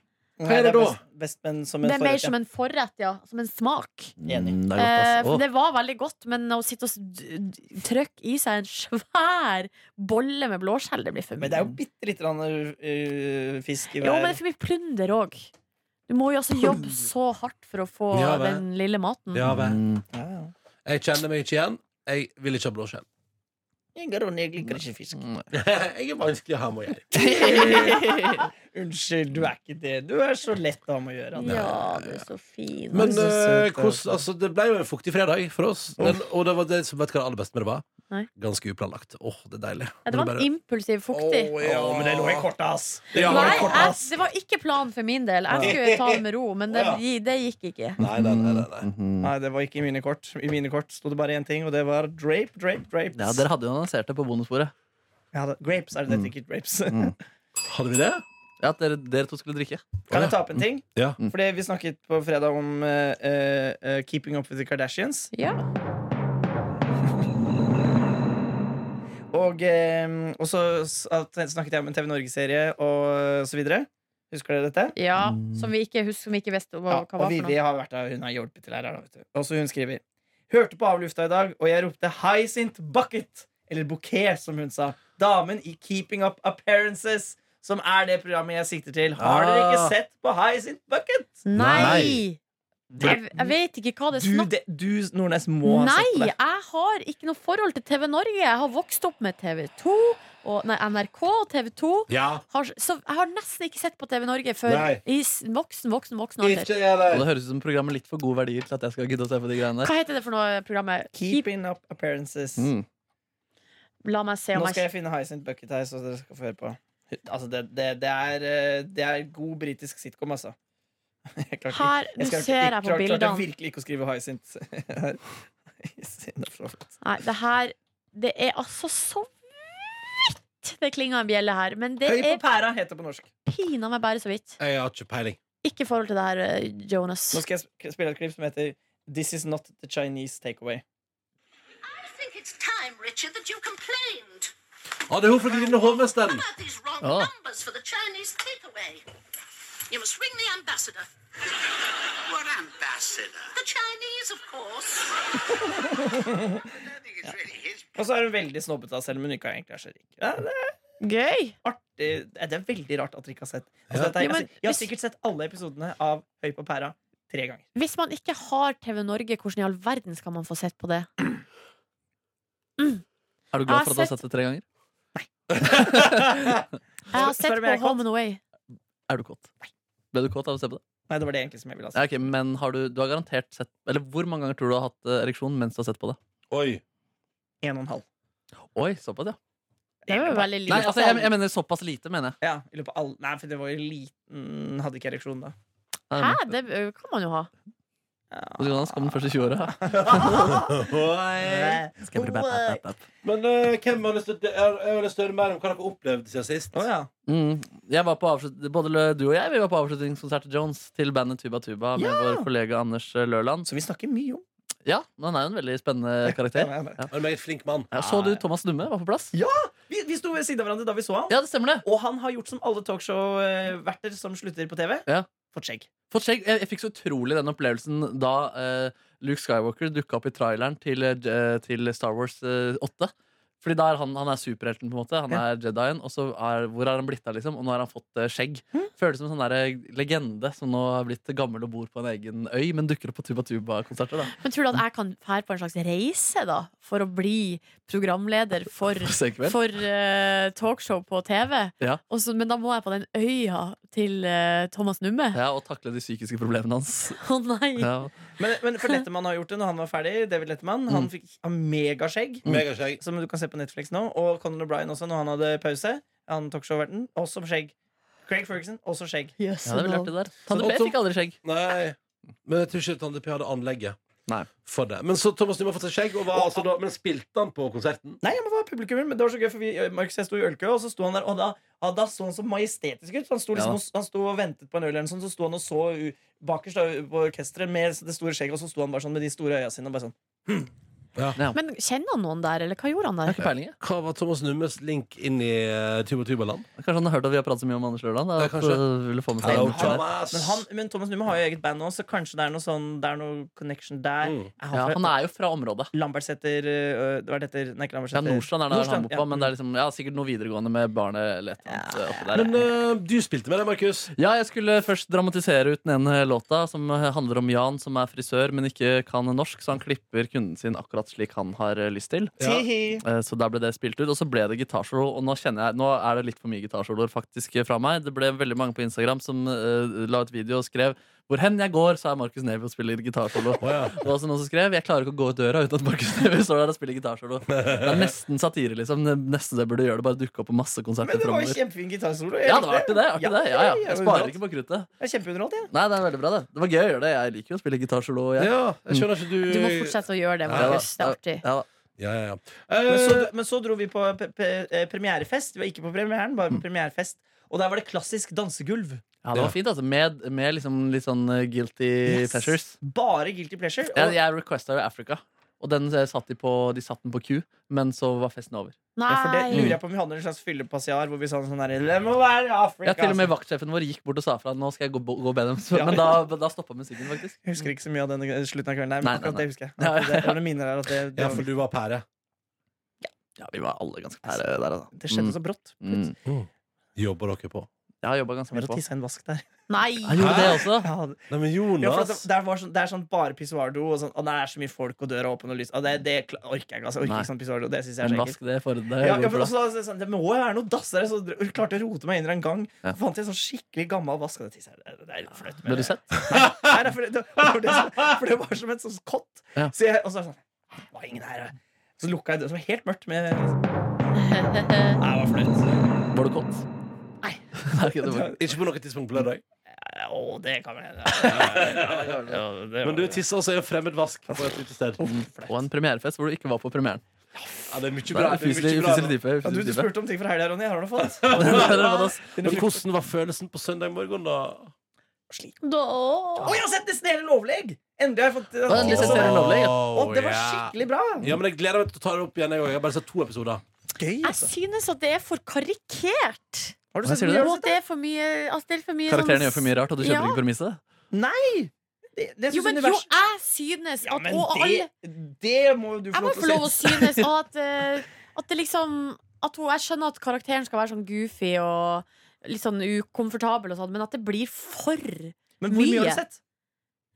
Speaker 5: Nei,
Speaker 2: er det da?
Speaker 5: best- Best, men som
Speaker 4: Det er mer
Speaker 5: forrett,
Speaker 4: som en forrett, ja. Som en smak.
Speaker 5: ja. Enig.
Speaker 3: Mm, det er godt,
Speaker 4: Eh,
Speaker 3: ass.
Speaker 4: for
Speaker 3: Åh.
Speaker 4: det var veldig godt, men å sitte og s- d- d- trykke i seg en svær bolle med blåskjell, det blir for mye.
Speaker 5: Men det er jo bitte lite grann øh, fisk i
Speaker 4: Jo, men det
Speaker 5: hver
Speaker 4: er for mye plunder òg. Du må jo altså jobbe så hardt for å få
Speaker 2: Ja, vel.
Speaker 4: den lille maten.
Speaker 2: Ja, vel.
Speaker 3: Mm.
Speaker 5: Ja, ja.
Speaker 2: Jeg kjenner meg ikke igjen. Jeg vil ikke ha blåskjell.
Speaker 5: Inger Ronny, jeg liker ikke fisk.
Speaker 2: Mm. Jeg er vanskelig å ha med å gjøre.
Speaker 5: Unnskyld, du er ikke det. Du er så lett å ha med å gjøre. Anne.
Speaker 4: Ja, du er så fin.
Speaker 2: Men
Speaker 5: så
Speaker 2: eh,
Speaker 5: søt,
Speaker 2: hvordan, altså, det ble jo en fuktig fredag for oss. Men, og det var det som vet du hva det aller beste med det var.
Speaker 4: Nei.
Speaker 2: Ganske uplanlagt. Åh, det er deilig.
Speaker 4: Ja, det var en impulsiv fuktig.
Speaker 5: Å, ja, men det lå i kortet, ass. Det
Speaker 2: Ja.
Speaker 5: lå
Speaker 4: Nei,
Speaker 5: i kortet,
Speaker 4: jeg,
Speaker 5: ass.
Speaker 4: det var ikke planen for min del. Jeg skulle ta det med ro, men det,
Speaker 2: Å,
Speaker 4: det gikk ikke.
Speaker 2: Nei, nei, nei, nei, nei.
Speaker 3: Mhm.
Speaker 5: Nei, det var ikke i mine kort. I mine kort sto det bare én ting, og det var drape, drape, drapes.
Speaker 3: Ja, dere hadde jo annonsert det på bonusbordet.
Speaker 5: Ja, da- grapes er det dette, ikke drapes.
Speaker 2: Hadde vi det?
Speaker 3: Ja, at dere, dere to skulle drikke.
Speaker 5: Kan jeg ta
Speaker 4: Mm.
Speaker 5: opp en ting?
Speaker 2: Ja.
Speaker 5: Fordi vi snakket på fredag om eh, eh, eh, Keeping Up With The Kardashians.
Speaker 4: Ja.
Speaker 5: Og, eh, og så s- at- snakket jeg om en TV Norge-serie og så videre. Husker dere dette?
Speaker 4: ja som vi ikke husker, som vi ikke visste hva,
Speaker 5: Ja,
Speaker 4: hva var
Speaker 5: og
Speaker 4: for
Speaker 5: Vivi
Speaker 4: noe.
Speaker 5: har vært der, hun har hjulpet til her. da, vet du. Og så hun skriver Hørte på avlufta i dag, og jeg ropte 'Hyacinth Bucket', eller 'bouquet', som hun sa. Damen i Keeping Up Appearances, som er det programmet jeg sikter til. Har dere
Speaker 3: Ah.
Speaker 5: ikke sett på Hyacinth Bucket?
Speaker 4: Nei!
Speaker 3: Nei.
Speaker 4: Jeg, jeg vet ikke hva det er
Speaker 5: Du,
Speaker 4: snakk
Speaker 5: det, du Nordnes, må ha sett på
Speaker 4: Nei,
Speaker 5: det.
Speaker 4: jeg har ikke noe forhold til TV Norge. Jeg har vokst opp med TV 2 og nei, NRK og TV 2.
Speaker 2: Ja.
Speaker 4: Har, så jeg har nesten ikke sett på TV Norge før
Speaker 2: Nei.
Speaker 4: i s- voksen, voksen, voksen alder.
Speaker 2: Ikke jeg det.
Speaker 3: Og det høres ut som programmet litt for gode verdier til at jeg skal gidde å se på de greiene der.
Speaker 4: Hva heter det for noe eh, programmet? Keep.
Speaker 5: Keeping up appearances.
Speaker 3: Mm.
Speaker 4: La meg se om
Speaker 5: Nå skal
Speaker 4: jeg
Speaker 5: jeg finne Hyacinth Bucket her, så dere skal få høre på. Altså, det, det, det, er, eh, det er god britisk sitcom, altså. Jeg klarte ikke-
Speaker 4: Her, nå
Speaker 5: klarte-
Speaker 4: ser jeg på
Speaker 5: klarte- klarte
Speaker 4: bildene.
Speaker 5: virkelig ikke å skrive Hyacinth. her. Hyacinth, for faen.
Speaker 4: Nei, det her Det er altså så vidt det klinger en bjelle her. Men det
Speaker 5: Høy på
Speaker 4: er
Speaker 5: pæra heter det på norsk.
Speaker 4: pinadø meg bare så vidt.
Speaker 2: Jeg har ikke peiling.
Speaker 4: Ikke forhold til det her, eh, Jonas.
Speaker 5: Nå skal jeg sp- spille et klipp som heter This is not the Chinese takeaway.
Speaker 1: I think it's time, Richard, that you complained
Speaker 2: Å, det er hun fra Grine Hovmesteren.
Speaker 1: about these wrong
Speaker 3: Oh.
Speaker 1: numbers for the Chinese takeaway. You must ring the ambassador.
Speaker 6: What ambassador?
Speaker 1: The Chinese, of course.
Speaker 6: I don't think it's really his
Speaker 5: Og så er hun veldig snobbete av selv, men hun ikke egentlig er så rik. Ja, det er
Speaker 4: Gøy!
Speaker 5: artig. Det er veldig rart at dere ikke har sett altså,
Speaker 2: Ja.
Speaker 5: dette er,
Speaker 4: Jo, men
Speaker 5: altså, Jeg har
Speaker 4: hvis-
Speaker 5: sikkert sett alle episodene av Høy på pæra tre ganger.
Speaker 4: Hvis man ikke har TV Norge, hvordan i all verden skal man få sett på det?
Speaker 3: Er du
Speaker 4: Jeg har
Speaker 3: glad for at du har sett det tre ganger?
Speaker 4: Jeg har
Speaker 5: Spør
Speaker 4: sett
Speaker 5: om jeg
Speaker 4: på
Speaker 5: er kåt?
Speaker 4: Home and Away.
Speaker 3: Er du kåt? Ble du kåt av å se på det?
Speaker 5: Nei, det var det egentlig som jeg ville ha
Speaker 3: Ja,
Speaker 5: sagt.
Speaker 3: ok, men har du, du har garantert sett Eller hvor mange ganger tror du du har hatt eh, ereksjon mens du har sett på det?
Speaker 2: Oi.
Speaker 5: En og en halv.
Speaker 3: Oi, såpass, ja.
Speaker 4: Det var jo veldig lite. sånn.
Speaker 3: Nei, altså, jeg, jeg mener såpass lite, mener jeg.
Speaker 5: Ja, i løpet av all... Nei, for det var jo liten Hadde ikke ereksjon da.
Speaker 4: Hæ? Det ø, kan man jo ha.
Speaker 3: Og Jonas kom den første 20 åra.
Speaker 5: Nei. What?
Speaker 2: Men eh, hvem har lyst til jeg har- Jeg har lyst til å høre mer om hva dere har opplevd siden sist.
Speaker 5: Å ja.
Speaker 3: Mm. Jeg var på avslut- Både lø- du og jeg vi var på avslutningskonsert til Jones til bandet Tuba Tuba med
Speaker 5: Ja.
Speaker 3: vår kollega Anders Lørland.
Speaker 5: Så vi snakker mye om
Speaker 3: Ja, men Han er jo en veldig spennende karakter.
Speaker 5: Ja, ja, ja.
Speaker 2: Han er en meget flink mann.
Speaker 3: Ja, så du Thomas Numme var på plass?
Speaker 5: Ja. Vi, vi sto ved siden av hverandre da vi så han.
Speaker 3: Ja, det stemmer det.
Speaker 5: Og han har gjort som alle talkshow-verter som slutter på TV.
Speaker 3: Ja.
Speaker 5: Fått skjegg.
Speaker 3: Fått skjegg. Jeg, jeg fikk så utrolig den opplevelsen da eh, Luke Skywalker dukka opp i traileren til, eh, Je- til Star Wars eh, 8. Fordi da er han, han er superhelten, på en måte. Han er Jedien. Og så er, hvor er han blitt av, liksom? Og nå har han fått eh, skjegg.
Speaker 2: Hm?
Speaker 3: Føles som en sånn der, eh, legende som nå er blitt gammel og bor på en egen øy, men dukker opp på Tuba Tuba-konserter. da
Speaker 4: Men tror du at jeg kan fære på en slags reise da for å bli programleder for,
Speaker 3: Senkveld.
Speaker 4: for ø, talkshow på TV?
Speaker 3: Ja.
Speaker 4: Og så- men da må jeg på den øya til ø, Thomas Numme. Å
Speaker 3: Ja, Og takle de psykiske problemene hans.
Speaker 4: nei!
Speaker 3: Ja.
Speaker 5: Men, men for Letterman har gjort det når han var ferdig. David Letterman Han fikk han megaskjegg,
Speaker 2: Mm. Megaskjegg.
Speaker 5: som du kan se på Netflix nå. Og Conan O'Brien også, når han hadde pause. Han talkshow-verten, også skjegg. Craig Ferguson, også skjegg.
Speaker 4: Jøss,
Speaker 3: Ja, det er vel
Speaker 4: nå.
Speaker 3: artig det der. Tante P fikk aldri skjegg.
Speaker 2: Nei. Men jeg tror ikke Tande P hadde anlegget
Speaker 3: Nei.
Speaker 2: for det. Men så Thomas Nyman har fått seg skjegg, og var, altså, da, men spilte han på konserten?
Speaker 5: Nei, jeg må være publikummer, men det var så gøy, for vi, Markus jeg sto i ølkø, og så sto han der, og da, ja, da så han så majestetisk ut. så Han sto, liksom,
Speaker 3: Ja.
Speaker 5: og, han sto og ventet på en øl, eller noe sånt, så sto han og så u- bakerst da, på orkesteret med det store skjegget, og så sto han bare sånn med de store øya sine. Og bare sånn.
Speaker 4: Men kjenner han noen der, eller hva gjorde han
Speaker 3: Jeg har
Speaker 4: der?
Speaker 3: ikke peiling. jeg.
Speaker 2: Hva var Thomas Nummes link inn i eh, Tuba Tubaland?
Speaker 3: Kanskje han har hørt at vi har pratet så mye om Anders Lørland?
Speaker 2: Ja,
Speaker 3: At,
Speaker 2: kanskje.
Speaker 3: eh, ville få med seg
Speaker 2: Hello,
Speaker 3: den.
Speaker 2: Thomas!
Speaker 5: Men, han, men Thomas Numme har jo eget band nå, så kanskje det er noe sånn, det er noe connection der.
Speaker 2: Mm.
Speaker 5: Er han
Speaker 3: Ja,
Speaker 5: fra-
Speaker 3: han er jo fra området.
Speaker 5: Lambertseter øh, det var dette, Nei, ikke
Speaker 3: Ja,
Speaker 5: Lambertseter.
Speaker 3: Nordstrand er der han
Speaker 5: Nordstrand,
Speaker 3: bor på,
Speaker 5: Eh, ja.
Speaker 3: men det er liksom, ja, sikkert noe videregående med barnet eller et eller annet eh, oppi der.
Speaker 2: Men eh, du spilte med det, Markus.
Speaker 3: Ja, jeg skulle først dramatisere ut den ene låta, som eh, handler om Jan som er frisør, men ikke kan norsk, så han klipper kunden sin akkurat slik han har eh, lyst til.
Speaker 5: Tihi.
Speaker 3: Eh, Så der ble det spilt ut, og så ble det gitarsolo. Og nå kjenner jeg, nå er det litt for mye gitarsoloer faktisk eh, fra meg. Det ble veldig mange på Instagram som eh, la ut video og skrev hvor hen jeg går, så er Markus Neby og spiller gitarsolo. Det var også noen som skrev Jeg klarer ikke å gå ut døra uten at Markus Neby står der og spiller gitarsolo. Det er nesten satire, liksom. Det neste jeg burde gjøre, det er bare dukke opp på masse konserter
Speaker 5: Men det var jo
Speaker 3: framover.
Speaker 5: kjempefin gitarsolo. jeg
Speaker 3: Ja, det
Speaker 5: likte
Speaker 3: var artig, det. Artig, det. Ja, ja.
Speaker 5: jeg
Speaker 3: Jeg
Speaker 5: var
Speaker 3: sparer
Speaker 5: underholdt.
Speaker 3: ikke på kruttet.
Speaker 5: Jeg er kjempeunderholdt, jeg.
Speaker 3: Nei, det er veldig bra, det. Det var gøy å gjøre det. Jeg liker jo å spille gitarsolo. Jeg.
Speaker 2: Ja, jeg skjønner ikke du
Speaker 4: Du må fortsette å gjøre det,
Speaker 3: Ja, da.
Speaker 4: Markus. Det er artig.
Speaker 3: Ja, da.
Speaker 2: Ja, ja, ja.
Speaker 5: Men så,
Speaker 2: Eh,
Speaker 5: men så dro vi på pe- pe- eh, premierefest. Vi var ikke på premieren, bare
Speaker 3: Mm.
Speaker 5: på premierefest. Og der var det klassisk dansegulv.
Speaker 3: ja, det var fint, altså. Med, med liksom litt sånn eh, guilty
Speaker 5: Yes.
Speaker 3: pleasures.
Speaker 5: Bare Guilty Pleasure.
Speaker 3: Jeg,
Speaker 5: Og,
Speaker 3: jeg requesta jo Africa. Og den eh, satt de, på, de satt den på Q, men så var festen over.
Speaker 5: Ja, for det lurer
Speaker 4: Nei!
Speaker 5: jeg på om vi hadde en slags fyllepassiar hvor vi sa sånn derre Det må være Afrika.
Speaker 3: Ja, til og med vaktsjefen vår gikk bort og sa fra Nå skal jeg gå, gå be dem. Så,
Speaker 5: Ja.
Speaker 3: men da, da stoppa musikken, faktisk.
Speaker 5: Jeg husker ikke så mye av den eh, slutten av kvelden der,
Speaker 3: Nei,
Speaker 5: men
Speaker 3: nei,
Speaker 5: akkurat
Speaker 3: nei.
Speaker 5: det husker jeg.
Speaker 3: Ja, ja.
Speaker 5: At Det, det var noen minner der at det, det,
Speaker 2: ja, for
Speaker 5: var,
Speaker 2: du var pære.
Speaker 3: Ja, vi var alle ganske pære der, altså.
Speaker 5: det skjedde så brått.
Speaker 3: Mm.
Speaker 2: Jobber dere på?
Speaker 3: Jeg har jobba ganske
Speaker 5: Jeg
Speaker 3: mye
Speaker 5: vet å
Speaker 3: på.
Speaker 5: tisse i en vask der.
Speaker 4: Nei!
Speaker 3: Jeg gjorde det også.
Speaker 5: Ja,
Speaker 2: Nei, men
Speaker 5: Ja, for at det,
Speaker 2: Jonas
Speaker 5: der var sånn, det er sånn bare pissoardo, og, sånn, og der er så mye folk, og døra åpen og lys. Og det, det kla- orker jeg ikke. Altså, jeg orker
Speaker 3: Nei.
Speaker 5: ikke sånn pissoardo. Det synes jeg er
Speaker 3: Men
Speaker 5: så
Speaker 3: vask
Speaker 5: ekkelt.
Speaker 3: det for deg.
Speaker 5: Ja, ja, for også, da er det sånn, det må jo være noe dass der. Så jeg klarte å rote meg inn der en gang.
Speaker 3: Ja.
Speaker 5: Fant jeg en sånn skikkelig gammel vask. og Det tisse- det er- det er litt flaut. men-
Speaker 3: Ble du sett?
Speaker 5: Nei, nei, for, det, det, for, det, for det var som et sånt kott.
Speaker 3: Ja.
Speaker 5: Så jeg, og så er det sånn Det var ingen her. Så lukka jeg døra, som var helt mørkt. Med, nei, det var flaut.
Speaker 3: Var du kåt?
Speaker 5: Nei.
Speaker 3: Nei, ok, det var-
Speaker 2: Ikke på noe tidspunkt på lørdag.
Speaker 5: Å, det kan vel hende. Ja, det
Speaker 2: Men
Speaker 5: var-
Speaker 2: du tissa også i en fremmed vask på et lite sted.
Speaker 3: Og en premierefest hvor du ikke var på premieren.
Speaker 2: Ja, det er mye
Speaker 3: Det er
Speaker 2: bra. Det er
Speaker 3: Ufyselig
Speaker 2: mye bra.
Speaker 3: ufyselig type.
Speaker 5: Ja, du,
Speaker 3: ufyselig
Speaker 5: du
Speaker 3: type.
Speaker 5: spurte om ting fra helga, Ronny. Har du noe fått?
Speaker 2: Men hvordan var følelsen på søndag morgen, da?
Speaker 5: Sliten.
Speaker 4: Da,
Speaker 5: Å, jeg har sett nesten hele Lovleg! Endelig har jeg fått
Speaker 3: Å, endelig sett hele Lovleg, ja.
Speaker 5: Å, det var
Speaker 2: ja.
Speaker 5: skikkelig bra!
Speaker 2: Ja, men Jeg gleder meg til å ta det opp igjen. Jeg, også. jeg har bare sett to episoder.
Speaker 5: Gøy, altså.
Speaker 4: jeg
Speaker 3: altså.
Speaker 4: synes at det er for karikert.
Speaker 5: Har du
Speaker 3: Hva
Speaker 5: sett
Speaker 3: sier du
Speaker 5: mye?
Speaker 3: der?
Speaker 5: Har
Speaker 4: Og at
Speaker 5: du
Speaker 4: det
Speaker 5: sett det?
Speaker 4: er for mye, altså det er for mye
Speaker 3: Karakteren
Speaker 4: sånn-
Speaker 3: gjør for mye rart, og du kjøper
Speaker 4: Ja.
Speaker 3: ikke premisset.
Speaker 5: Nei! Det, det
Speaker 4: Jo,
Speaker 5: synes
Speaker 4: men jo,
Speaker 5: univers-
Speaker 4: jeg synes
Speaker 5: Ja,
Speaker 4: at
Speaker 5: men
Speaker 4: og alle,
Speaker 5: det, det må jo du
Speaker 4: Jeg
Speaker 5: få
Speaker 4: må
Speaker 5: lov
Speaker 4: få lov
Speaker 5: til
Speaker 4: å
Speaker 5: å si.
Speaker 4: synes og at, eh, at det liksom at hun, Jeg skjønner at karakteren skal være sånn goofy og litt sånn ukomfortabel, og sånn, men at det blir for Jeg
Speaker 5: Men hvor mye har
Speaker 4: Mye.
Speaker 5: du sett?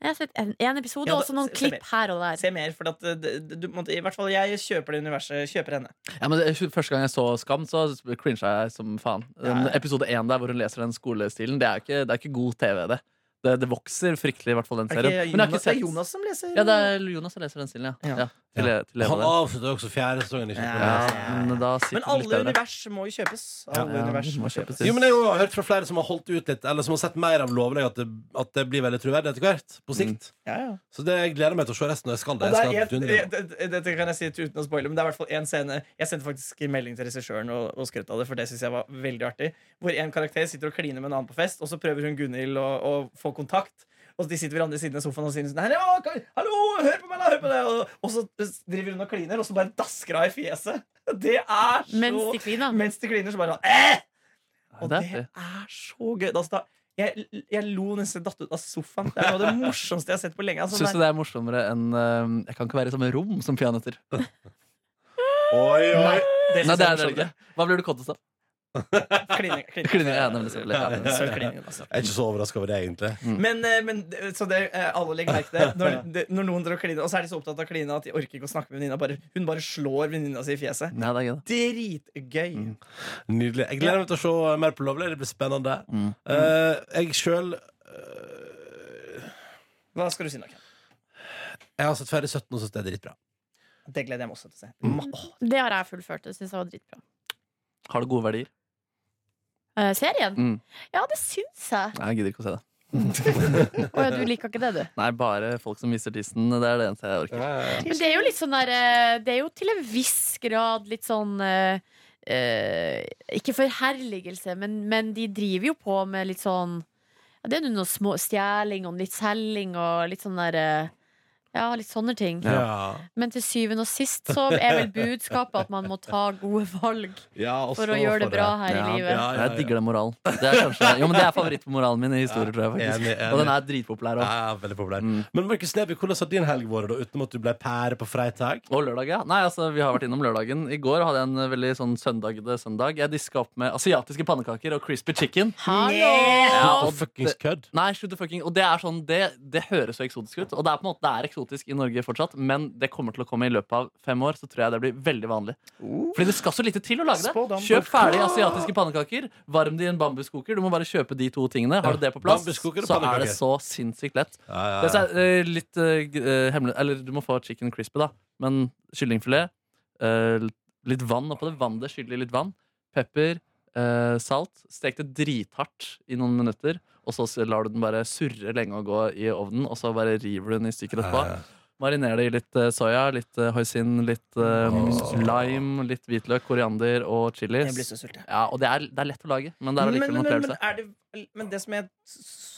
Speaker 4: har sett en, en episode
Speaker 5: Ja,
Speaker 4: og
Speaker 5: da-
Speaker 4: så noen
Speaker 5: se- se
Speaker 4: klipp her og der.
Speaker 5: Se mer, for at eh, det- det- du, måtte- I hvert fall jeg kjøper det universet. Kjøper henne.
Speaker 3: Ja, men det- Første gang jeg så Skam, så cringa jeg som faen. Den episode én der hvor hun leser den skolestilen, det er ikke, det er ikke god TV, det. det. Det vokser fryktelig, i hvert fall den
Speaker 5: Er det
Speaker 3: serien.
Speaker 5: ikke
Speaker 3: Men jeg har ikke
Speaker 5: Jonas, det er
Speaker 3: sett
Speaker 5: Jonas som leser
Speaker 3: Ja, det er Jonas som leser den stilen, ja.
Speaker 5: Ja.
Speaker 3: ja. til, til
Speaker 2: Han
Speaker 3: Lena der.
Speaker 2: avslutta også fjerde sesongen. Ikke?
Speaker 5: Ja.
Speaker 2: sant?
Speaker 3: ja, men da sitter den
Speaker 5: Men
Speaker 3: litt
Speaker 5: alle
Speaker 3: bedre.
Speaker 5: univers må jo kjøpes. Alle
Speaker 3: Ja, ja,
Speaker 5: univers
Speaker 3: de må
Speaker 5: må
Speaker 3: kjøpes.
Speaker 5: kjøpes.
Speaker 2: Jo, men Jeg har hørt fra flere som har holdt ut litt, eller som har sett mer av lovene, at, det- at det blir veldig troverdig etter hvert. På sikt.
Speaker 5: Ja, ja.
Speaker 2: Så det jeg gleder meg til å se resten. Og jeg skal det.
Speaker 5: Og
Speaker 2: Jeg
Speaker 5: det
Speaker 2: skal
Speaker 5: er en,
Speaker 2: dundre.
Speaker 5: det- det- dette kan jeg si uten å spoile, men det er i hvert fall en scene Jeg sendte faktisk melding til regissøren og, og skrøt av det, for det syns jeg var veldig artig. Hvor en karakter sitter og kliner med en annen på fest, og så prøver hun Gunhild å, å få kontakt. Og de sitter ved andre siden av sofaen og sier sånn «Nei, ja, kan- Hallo, hør på meg, da! Hør på deg! Og, og så driver hun og kliner, og så bare dasker hun av i fjeset. Det er så
Speaker 4: Mens de kliner.
Speaker 5: Mens de kliner, så bare sånn eh! Og
Speaker 3: Det
Speaker 5: det
Speaker 3: er artig.
Speaker 5: er så gøy. Altså, da, jeg, jeg lo nesten datt ut av sofaen. Det er noe av det morsomste jeg har sett på lenge. Altså,
Speaker 2: sånn
Speaker 3: Syns du det er morsommere enn eh, Jeg kan ikke være i samme rom som peanøtter.
Speaker 2: Oi, oi.
Speaker 3: Nei,
Speaker 5: det synes
Speaker 3: det
Speaker 5: jeg
Speaker 3: er det ikke. Hva blir du kåtest av?
Speaker 5: Klining, klining.
Speaker 3: Klining, ja, nemlig, selvfølgelig. Ja,
Speaker 5: Ja, så klining, altså.
Speaker 2: Jeg er ikke så overraska over det, egentlig.
Speaker 5: Men, eh, men eh, så det, eh, alle legger merke til det. Når, det- når noen drar og kliner, og så er de så opptatt av å kline at de orker ikke å snakke med venninna. Bare, hun bare slår venninna si i fjeset.
Speaker 3: Nei, det er ikke det.
Speaker 5: Dritgøy.
Speaker 3: Mm.
Speaker 2: Nydelig. Jeg gleder meg til å se mer på Lovely. Det blir spennende. Eh, jeg sjøl
Speaker 5: Hva skal du si, Naken?
Speaker 2: Jeg har sett ferdig 17 og syns det er dritbra.
Speaker 5: Det gleder jeg meg også til å se. Ma- åh,
Speaker 4: Det har jeg fullført. Det syns jeg var dritbra.
Speaker 3: Har det gode verdier?
Speaker 4: Eh, serien?
Speaker 3: Mm.
Speaker 4: Ja, det syns jeg.
Speaker 3: Nei, jeg gidder ikke å se det.
Speaker 4: Å ja, du liker ikke det, du.
Speaker 3: Nei, bare folk som viser tissen. Det er det eneste jeg orker.
Speaker 4: Men det er jo litt sånn der eh, Det er jo til en viss grad litt sånn eh, eh, Ikke forherligelse, men, men de driver jo på med litt sånn ja, Det er jo noe små stjeling og litt selging og litt sånn der eh, Ja, litt sånne ting.
Speaker 2: Ja.
Speaker 4: Men til syvende og sist så er vel budskapet at man må ta gode valg
Speaker 2: Ja, og
Speaker 4: for
Speaker 2: stå
Speaker 4: å gjøre det bra her i
Speaker 3: Ja,
Speaker 4: livet.
Speaker 2: ja,
Speaker 3: Jeg digger den moralen. Det er kanskje, jo, men det er favorittmoralen min i historier, tror jeg. faktisk
Speaker 2: Enig, enig.
Speaker 3: Og den er dritpopulær òg.
Speaker 2: Ja, veldig populær. Men Markus Neby, hvordan har din helg vært, da, utenom at du ble pære på Freitag?
Speaker 3: Og lørdag, ja. Nei, altså, vi har vært innom lørdagen. I går hadde jeg en veldig sånn søndagde søndag. Jeg diska opp med asiatiske pannekaker og crispy chicken.
Speaker 4: Hallo!
Speaker 3: Ja,
Speaker 2: Og
Speaker 3: og
Speaker 2: fuckings
Speaker 3: det-
Speaker 2: kødd.
Speaker 3: Nei, slutt å fucking Og det er sånn, det, det høres så eksotisk ut. Og det er på en måte, det er eksotisk i Norge fortsatt, men det kommer til å komme i løpet av fem år. Så tror jeg det blir veldig vanlig. Fordi det skal så lite til å lage det.
Speaker 5: Spådom.
Speaker 3: Kjøp ferdig asiatiske pannekaker. Varm de i en bambuskoker. Du må bare kjøpe de to tingene. Har du det på plass,
Speaker 2: Bambuskoker og
Speaker 3: så er det
Speaker 2: pannekaker.
Speaker 3: så sinnssykt lett.
Speaker 2: Ja, ja,
Speaker 3: Det
Speaker 2: ja.
Speaker 3: er eh, litt eh, g- eh, hemmelig Eller du må få chicken crispy, da. Men kyllingfilet. eh, litt vann oppå det. Vann det skyldig litt vann. Pepper. eh, salt. Stek det drithardt i noen minutter. Og så s- lar du den bare surre lenge og gå i ovnen, og så bare river du den i stykker etterpå. Mariner det i litt eh, soya, litt eh, hoisin, litt eh, lime, litt hvitløk, koriander og chili.
Speaker 5: Jeg blir så sulten.
Speaker 3: Ja, og det er, det er lett å lage, men det er
Speaker 5: Men, men,
Speaker 3: allikevel en
Speaker 5: men, men,
Speaker 3: opplevelse.
Speaker 5: er det, men det som jeg s- s-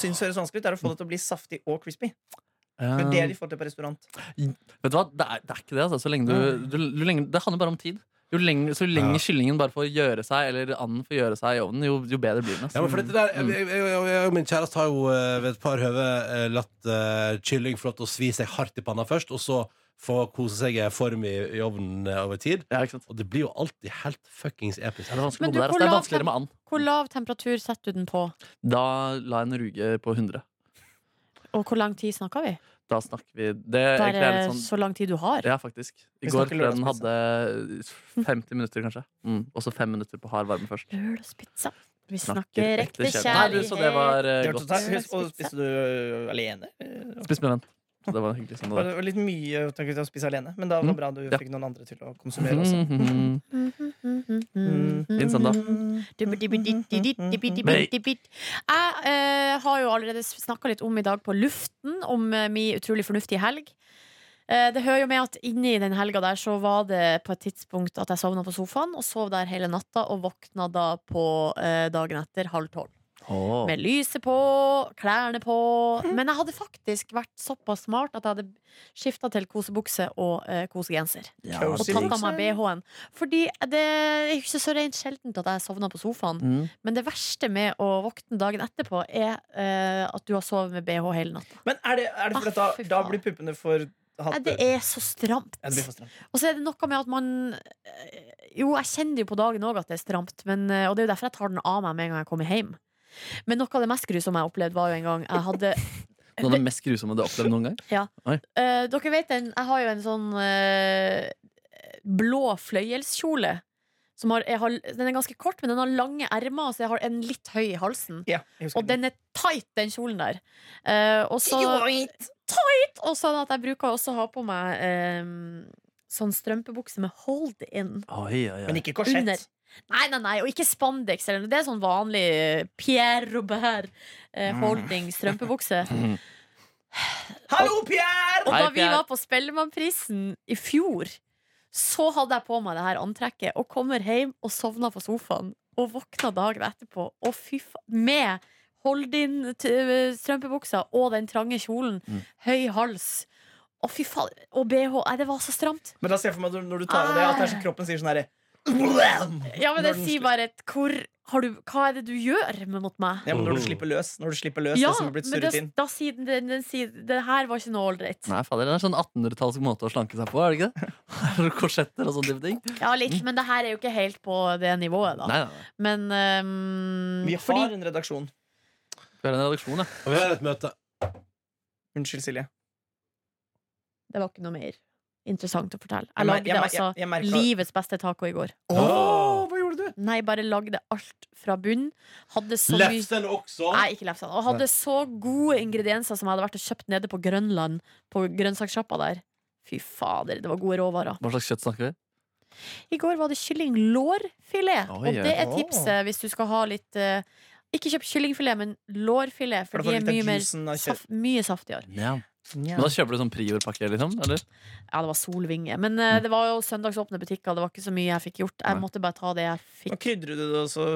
Speaker 5: syns høres vanskelig ut, er å få det til å bli saftig og crispy. Men det er
Speaker 3: Eh,
Speaker 5: de får til på restaurant.
Speaker 3: Vet du hva, det er, det er ikke det, altså. Så lenge du, du, du lenge, det handler bare om tid. Jo lenger, så lenge
Speaker 2: Ja.
Speaker 3: kyllingen bare får gjøre seg, eller anden får gjøre seg i ovnen, jo, jo bedre blir den. altså. ass.
Speaker 2: Ja, men for dette der, jeg, jeg, jeg, jeg, og min kjæreste har jo eh, ved et par høve eh, latt eh, kylling få lov til å svi seg hardt i panna først, og så få kose seg i form i, i ovnen eh, over tid.
Speaker 3: Ja, ikke sant?
Speaker 2: Og det blir jo alltid helt fuckings episk.
Speaker 3: Ja, det, er vanskelig
Speaker 4: Men
Speaker 3: å
Speaker 4: du,
Speaker 3: bo der, ass.
Speaker 4: hvor
Speaker 3: det er
Speaker 4: lav
Speaker 3: vanskeligere med and.
Speaker 4: Hvor lav temperatur setter du den på?
Speaker 3: Da la jeg en ruge på 100.
Speaker 4: Og hvor lang tid snakker vi?
Speaker 3: Da snakker vi Det
Speaker 4: Da
Speaker 3: egentlig er
Speaker 4: er det
Speaker 3: litt sånn
Speaker 4: så lang tid du har?
Speaker 3: Ja, faktisk. I
Speaker 5: Vi
Speaker 3: går
Speaker 5: snakker
Speaker 3: tror jeg den
Speaker 5: lørdagspizza.
Speaker 3: hadde 50 minutter, kanskje. Mm. Og så fem minutter på hard varme først.
Speaker 4: Lørdagspizza. Vi snakker ekte
Speaker 3: Nei, du,
Speaker 4: kjærlighet.
Speaker 3: så det var eh,
Speaker 5: Det var
Speaker 3: godt.
Speaker 5: totalt- Husk, og spiste du ø, alene?
Speaker 3: Spis med venn. Så Det var hyggelig sånn
Speaker 5: Det var
Speaker 3: det
Speaker 5: det var litt mye takk for å spise alene, men da var
Speaker 3: Mm.
Speaker 5: det bra du
Speaker 3: Ja.
Speaker 5: fikk noen andre til å konsumere også.
Speaker 3: var.
Speaker 4: Mm-hmm. Mm.
Speaker 5: Mm-hmm.
Speaker 3: Fin søndag.
Speaker 5: Mm.
Speaker 4: Jeg eh, har jo allerede snakka litt om i dag på luften, om eh, mi utrolig fornuftige helg. Eh, det hører jo med at inni den helga der så var det på et tidspunkt at jeg sovna på sofaen, og sov der hele natta, og våkna da på eh, dagen etter halv tolv.
Speaker 3: Åh.
Speaker 4: Med lyset på, klærne på. Men jeg hadde faktisk vært såpass smart at jeg hadde skifta til kosebukse og eh, kosegenser.
Speaker 3: Ja,
Speaker 4: Og
Speaker 5: Cozy.
Speaker 4: tatt av meg BH-en. Fordi det er jo ikke så rent sjeldent at jeg sovner på sofaen.
Speaker 3: Mm.
Speaker 4: Men det verste med å våkne dagen etterpå er eh, at du har sovet med BH hele natta.
Speaker 5: Men er det, er det
Speaker 4: Ah,
Speaker 5: fordi at
Speaker 4: fy
Speaker 5: da, da
Speaker 4: faen.
Speaker 5: blir puppene for
Speaker 4: Nei,
Speaker 5: hatt?
Speaker 4: Det er så stramt.
Speaker 5: Ja, det blir for stramt.
Speaker 4: Og så er det noe med at man eh, Jo, jeg kjenner jo på dagen òg at det er stramt, men, eh, og det er jo derfor jeg tar den av meg med en gang jeg kommer hjem. Men noe av det mest grusomme jeg opplevde, var jo en gang jeg hadde
Speaker 3: Noe av det mest grusomme du har opplevd noen gang?
Speaker 4: Eh, dere vet den, jeg har jo en sånn eh, blå fløyelskjole. Som har, jeg har, den er ganske kort, men den har lange ermer, så jeg har en litt høy i halsen.
Speaker 5: Ja, jeg husker
Speaker 4: Og den er tight, den kjolen der. Eh, og så
Speaker 5: Joint!
Speaker 4: tight! Og sånn at jeg bruker også å ha på meg eh, sånn strømpebukse med hold in
Speaker 3: Oi, oi,
Speaker 5: Men
Speaker 3: oi.
Speaker 5: ikke korsett.
Speaker 4: under. Nei, nei, nei, og ikke spandex. Eller, noe. det er sånn vanlig eh, Pierre Robert eh, holding strømpebukse.
Speaker 5: Hallo, Pierre!
Speaker 4: Og
Speaker 3: Hei,
Speaker 4: da vi
Speaker 3: Pierre.
Speaker 4: var på Spellemannprisen i fjor, så hadde jeg på meg det her antrekket og kommer hjem og sovna på sofaen. Og våkna dagen etterpå og fy fa med hold-in-strømpebuksa og den trange kjolen.
Speaker 5: Mm.
Speaker 4: Høy hals. Å, fy faen. Og bh. Nei, det var så stramt.
Speaker 5: Men da ser jeg for meg at når du tar av det, at
Speaker 4: Ah.
Speaker 5: det er så kroppen sier sånn herre Blam!
Speaker 4: Ja, men det
Speaker 5: Når den
Speaker 4: sier
Speaker 5: sli-
Speaker 4: bare et hvor har du, Hva er det du gjør med mot meg?
Speaker 5: Ja, men når du slipper løs, når du slipper løs
Speaker 4: Ja,
Speaker 5: det som er blitt
Speaker 4: men
Speaker 5: surret
Speaker 4: da,
Speaker 5: inn.
Speaker 4: da sier den, den, den sier Det her var ikke noe ålreit.
Speaker 3: Nei, fader, Det er sånn 1800-talls måte å slanke seg på, er det ikke det? Korsetter og sånne type ting.
Speaker 4: Ja, litt,
Speaker 5: Mm.
Speaker 4: men det her er jo ikke helt på det nivået, da.
Speaker 3: Nei, nei, nei.
Speaker 4: Men ehm,
Speaker 5: Vi har
Speaker 4: fordi
Speaker 5: en redaksjon.
Speaker 3: Vi har en redaksjon, ja.
Speaker 2: Og vi har et møte.
Speaker 5: Unnskyld, Silje.
Speaker 4: Det var ikke noe mer interessant å fortelle.
Speaker 5: Jeg
Speaker 4: Jeg
Speaker 5: mer-
Speaker 4: lagde
Speaker 5: jeg mer-
Speaker 4: altså
Speaker 5: jeg- jeg merka-
Speaker 4: livets beste taco i går.
Speaker 5: Åh,
Speaker 2: Åh.
Speaker 5: hva gjorde du?
Speaker 4: Nei, bare lagde alt fra bunn. Hadde så mye
Speaker 2: Lefsen også.
Speaker 4: Nei, ikke lefsene. Og hadde så gode ingredienser som jeg hadde vært og kjøpt nede på Grønland, på grønnsakssjappa der. Fy fader, det var gode råvarer.
Speaker 3: Hva slags kjøtt snakker vi?
Speaker 4: I går var det kyllinglårfilet,
Speaker 3: Oi,
Speaker 4: og det er
Speaker 5: oi.
Speaker 4: tipset hvis du skal ha litt eh, Ikke kjøp kyllingfilet, men lårfilet, for
Speaker 5: For da
Speaker 4: de er
Speaker 5: får du litt
Speaker 4: mye,
Speaker 5: av
Speaker 4: mer,
Speaker 5: juicen av kjøtt.
Speaker 4: saft, mye saftigere.
Speaker 3: Ja. Men da kjøper du sånn priorpakke, liksom? Eller?
Speaker 4: Ja, det var solvinge. Men eh, det var jo søndagsåpne butikker. Det var ikke så mye jeg fikk gjort. Jeg
Speaker 3: Nei.
Speaker 4: måtte bare ta det jeg
Speaker 5: Og
Speaker 4: fikk.
Speaker 5: krydrer du det, og så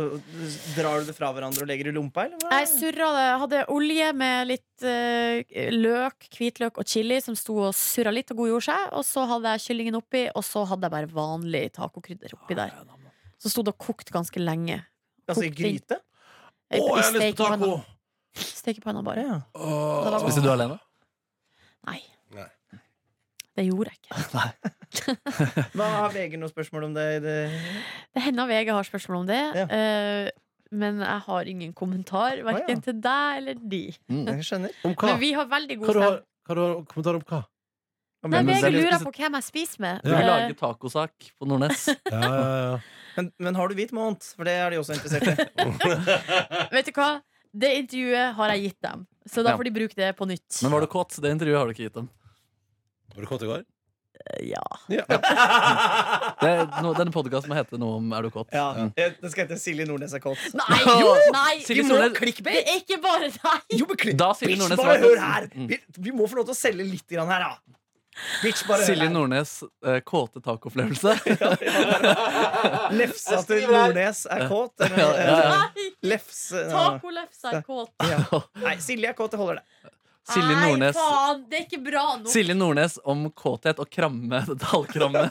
Speaker 5: drar du det fra hverandre og legger i lompa, eller hva?
Speaker 4: Jeg surra det. Jeg hadde olje med litt eh, løk, hvitløk og chili som sto og surra litt og godgjorde seg. Og så hadde jeg kyllingen oppi, og så hadde jeg bare vanlig tacokrydder oppi der. Som sto det og kokte ganske lenge.
Speaker 5: altså i
Speaker 4: kokt inn.
Speaker 5: gryte?
Speaker 2: Å, jeg har lyst på taco!
Speaker 4: Stekepanna bare.
Speaker 5: Ja.
Speaker 2: Åh.
Speaker 4: Det var
Speaker 3: Spiste du alene?
Speaker 4: Nei.
Speaker 2: Nei.
Speaker 4: Det gjorde jeg ikke.
Speaker 5: Hva har VG noe spørsmål om det? i det?
Speaker 4: Det hender VG har spørsmål om det.
Speaker 5: Ja.
Speaker 4: eh, men jeg har ingen kommentar,
Speaker 5: Å, ja.
Speaker 4: verken til deg eller de.
Speaker 5: Jeg skjønner.
Speaker 2: Om hva?
Speaker 4: Men vi har veldig
Speaker 2: Hva
Speaker 4: god
Speaker 2: du
Speaker 4: stemning.
Speaker 2: har, hva du har kommentar om hva?
Speaker 5: Om
Speaker 4: Nei,
Speaker 5: det-
Speaker 3: men
Speaker 4: VG
Speaker 3: selv om jeg
Speaker 4: lurer
Speaker 3: spiser-
Speaker 4: på hvem jeg spiser med.
Speaker 3: Du vil
Speaker 4: Eh,
Speaker 3: lage tacosak på Nordnes.
Speaker 2: Ja, ja, ja.
Speaker 5: Men, men har du hvit måned? For det er de også interessert i.
Speaker 4: vet du hva? Det intervjuet har jeg gitt dem, så da
Speaker 3: Ja.
Speaker 4: får de bruke det på nytt.
Speaker 3: Men var du kåt? Det intervjuet har du ikke gitt dem.
Speaker 2: Var du kåt i går?
Speaker 4: Ja.
Speaker 3: Det, no, denne podkasten må hete noe om 'er du kåt'?
Speaker 5: Ja, jeg- Den skal hete Silje Nordnes er kåt.
Speaker 4: Nei!
Speaker 3: Jo!
Speaker 4: Nei!
Speaker 3: Silje
Speaker 4: vi må
Speaker 3: Nordnes-
Speaker 4: clickbait! Det er ikke bare deg!
Speaker 5: Jo, men kli-
Speaker 3: Da Silje
Speaker 5: Bitch,
Speaker 3: Nordnes
Speaker 5: bare
Speaker 3: var-
Speaker 5: hør her!
Speaker 3: Mm.
Speaker 5: Vi, vi må få lov til å selge litt grann her, da. Bitch, bare
Speaker 3: Silje
Speaker 5: hør her.
Speaker 3: Nordnes eh, kåte tacoopplevelse.
Speaker 5: Lefsa
Speaker 2: Jeg
Speaker 5: til
Speaker 2: skriver her.
Speaker 5: Nordnes er kåt. Eller,
Speaker 3: Ja, ja, ja.
Speaker 4: Nei!
Speaker 5: Lefse
Speaker 4: Tacolefse er kåt.
Speaker 5: Nei, Silje er kåt, det holder det.
Speaker 3: Silje Nordnes
Speaker 4: Nei, faen, det er ikke bra nok.
Speaker 3: Silje Nordnes om kåthet og kramme. Detaljkramme.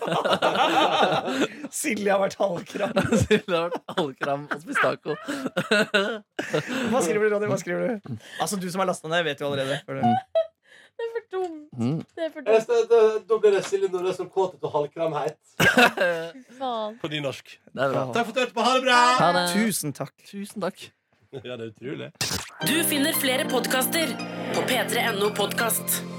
Speaker 5: Silje har vært halvkram.
Speaker 3: Silje har vært halvkram og spist taco.
Speaker 5: Hva skriver du, Ronny? Hva skriver du? Altså, du som har lasta ned, vet jo allerede. Hør du.
Speaker 4: Det er for dumt.
Speaker 3: Mm.
Speaker 4: Det er for
Speaker 2: Da
Speaker 4: dumt.
Speaker 2: blir det Silje Nordnes som kåtet og halvkramhet.
Speaker 4: Faen.
Speaker 2: På nynorsk.
Speaker 3: Det er bra.
Speaker 2: Takk for at du hørte på. Ha det bra!
Speaker 3: Ha det.
Speaker 5: Tusen takk.
Speaker 3: Tusen takk.
Speaker 2: Ja, det er utrolig.
Speaker 7: Du finner flere podkaster på p3.no podkast.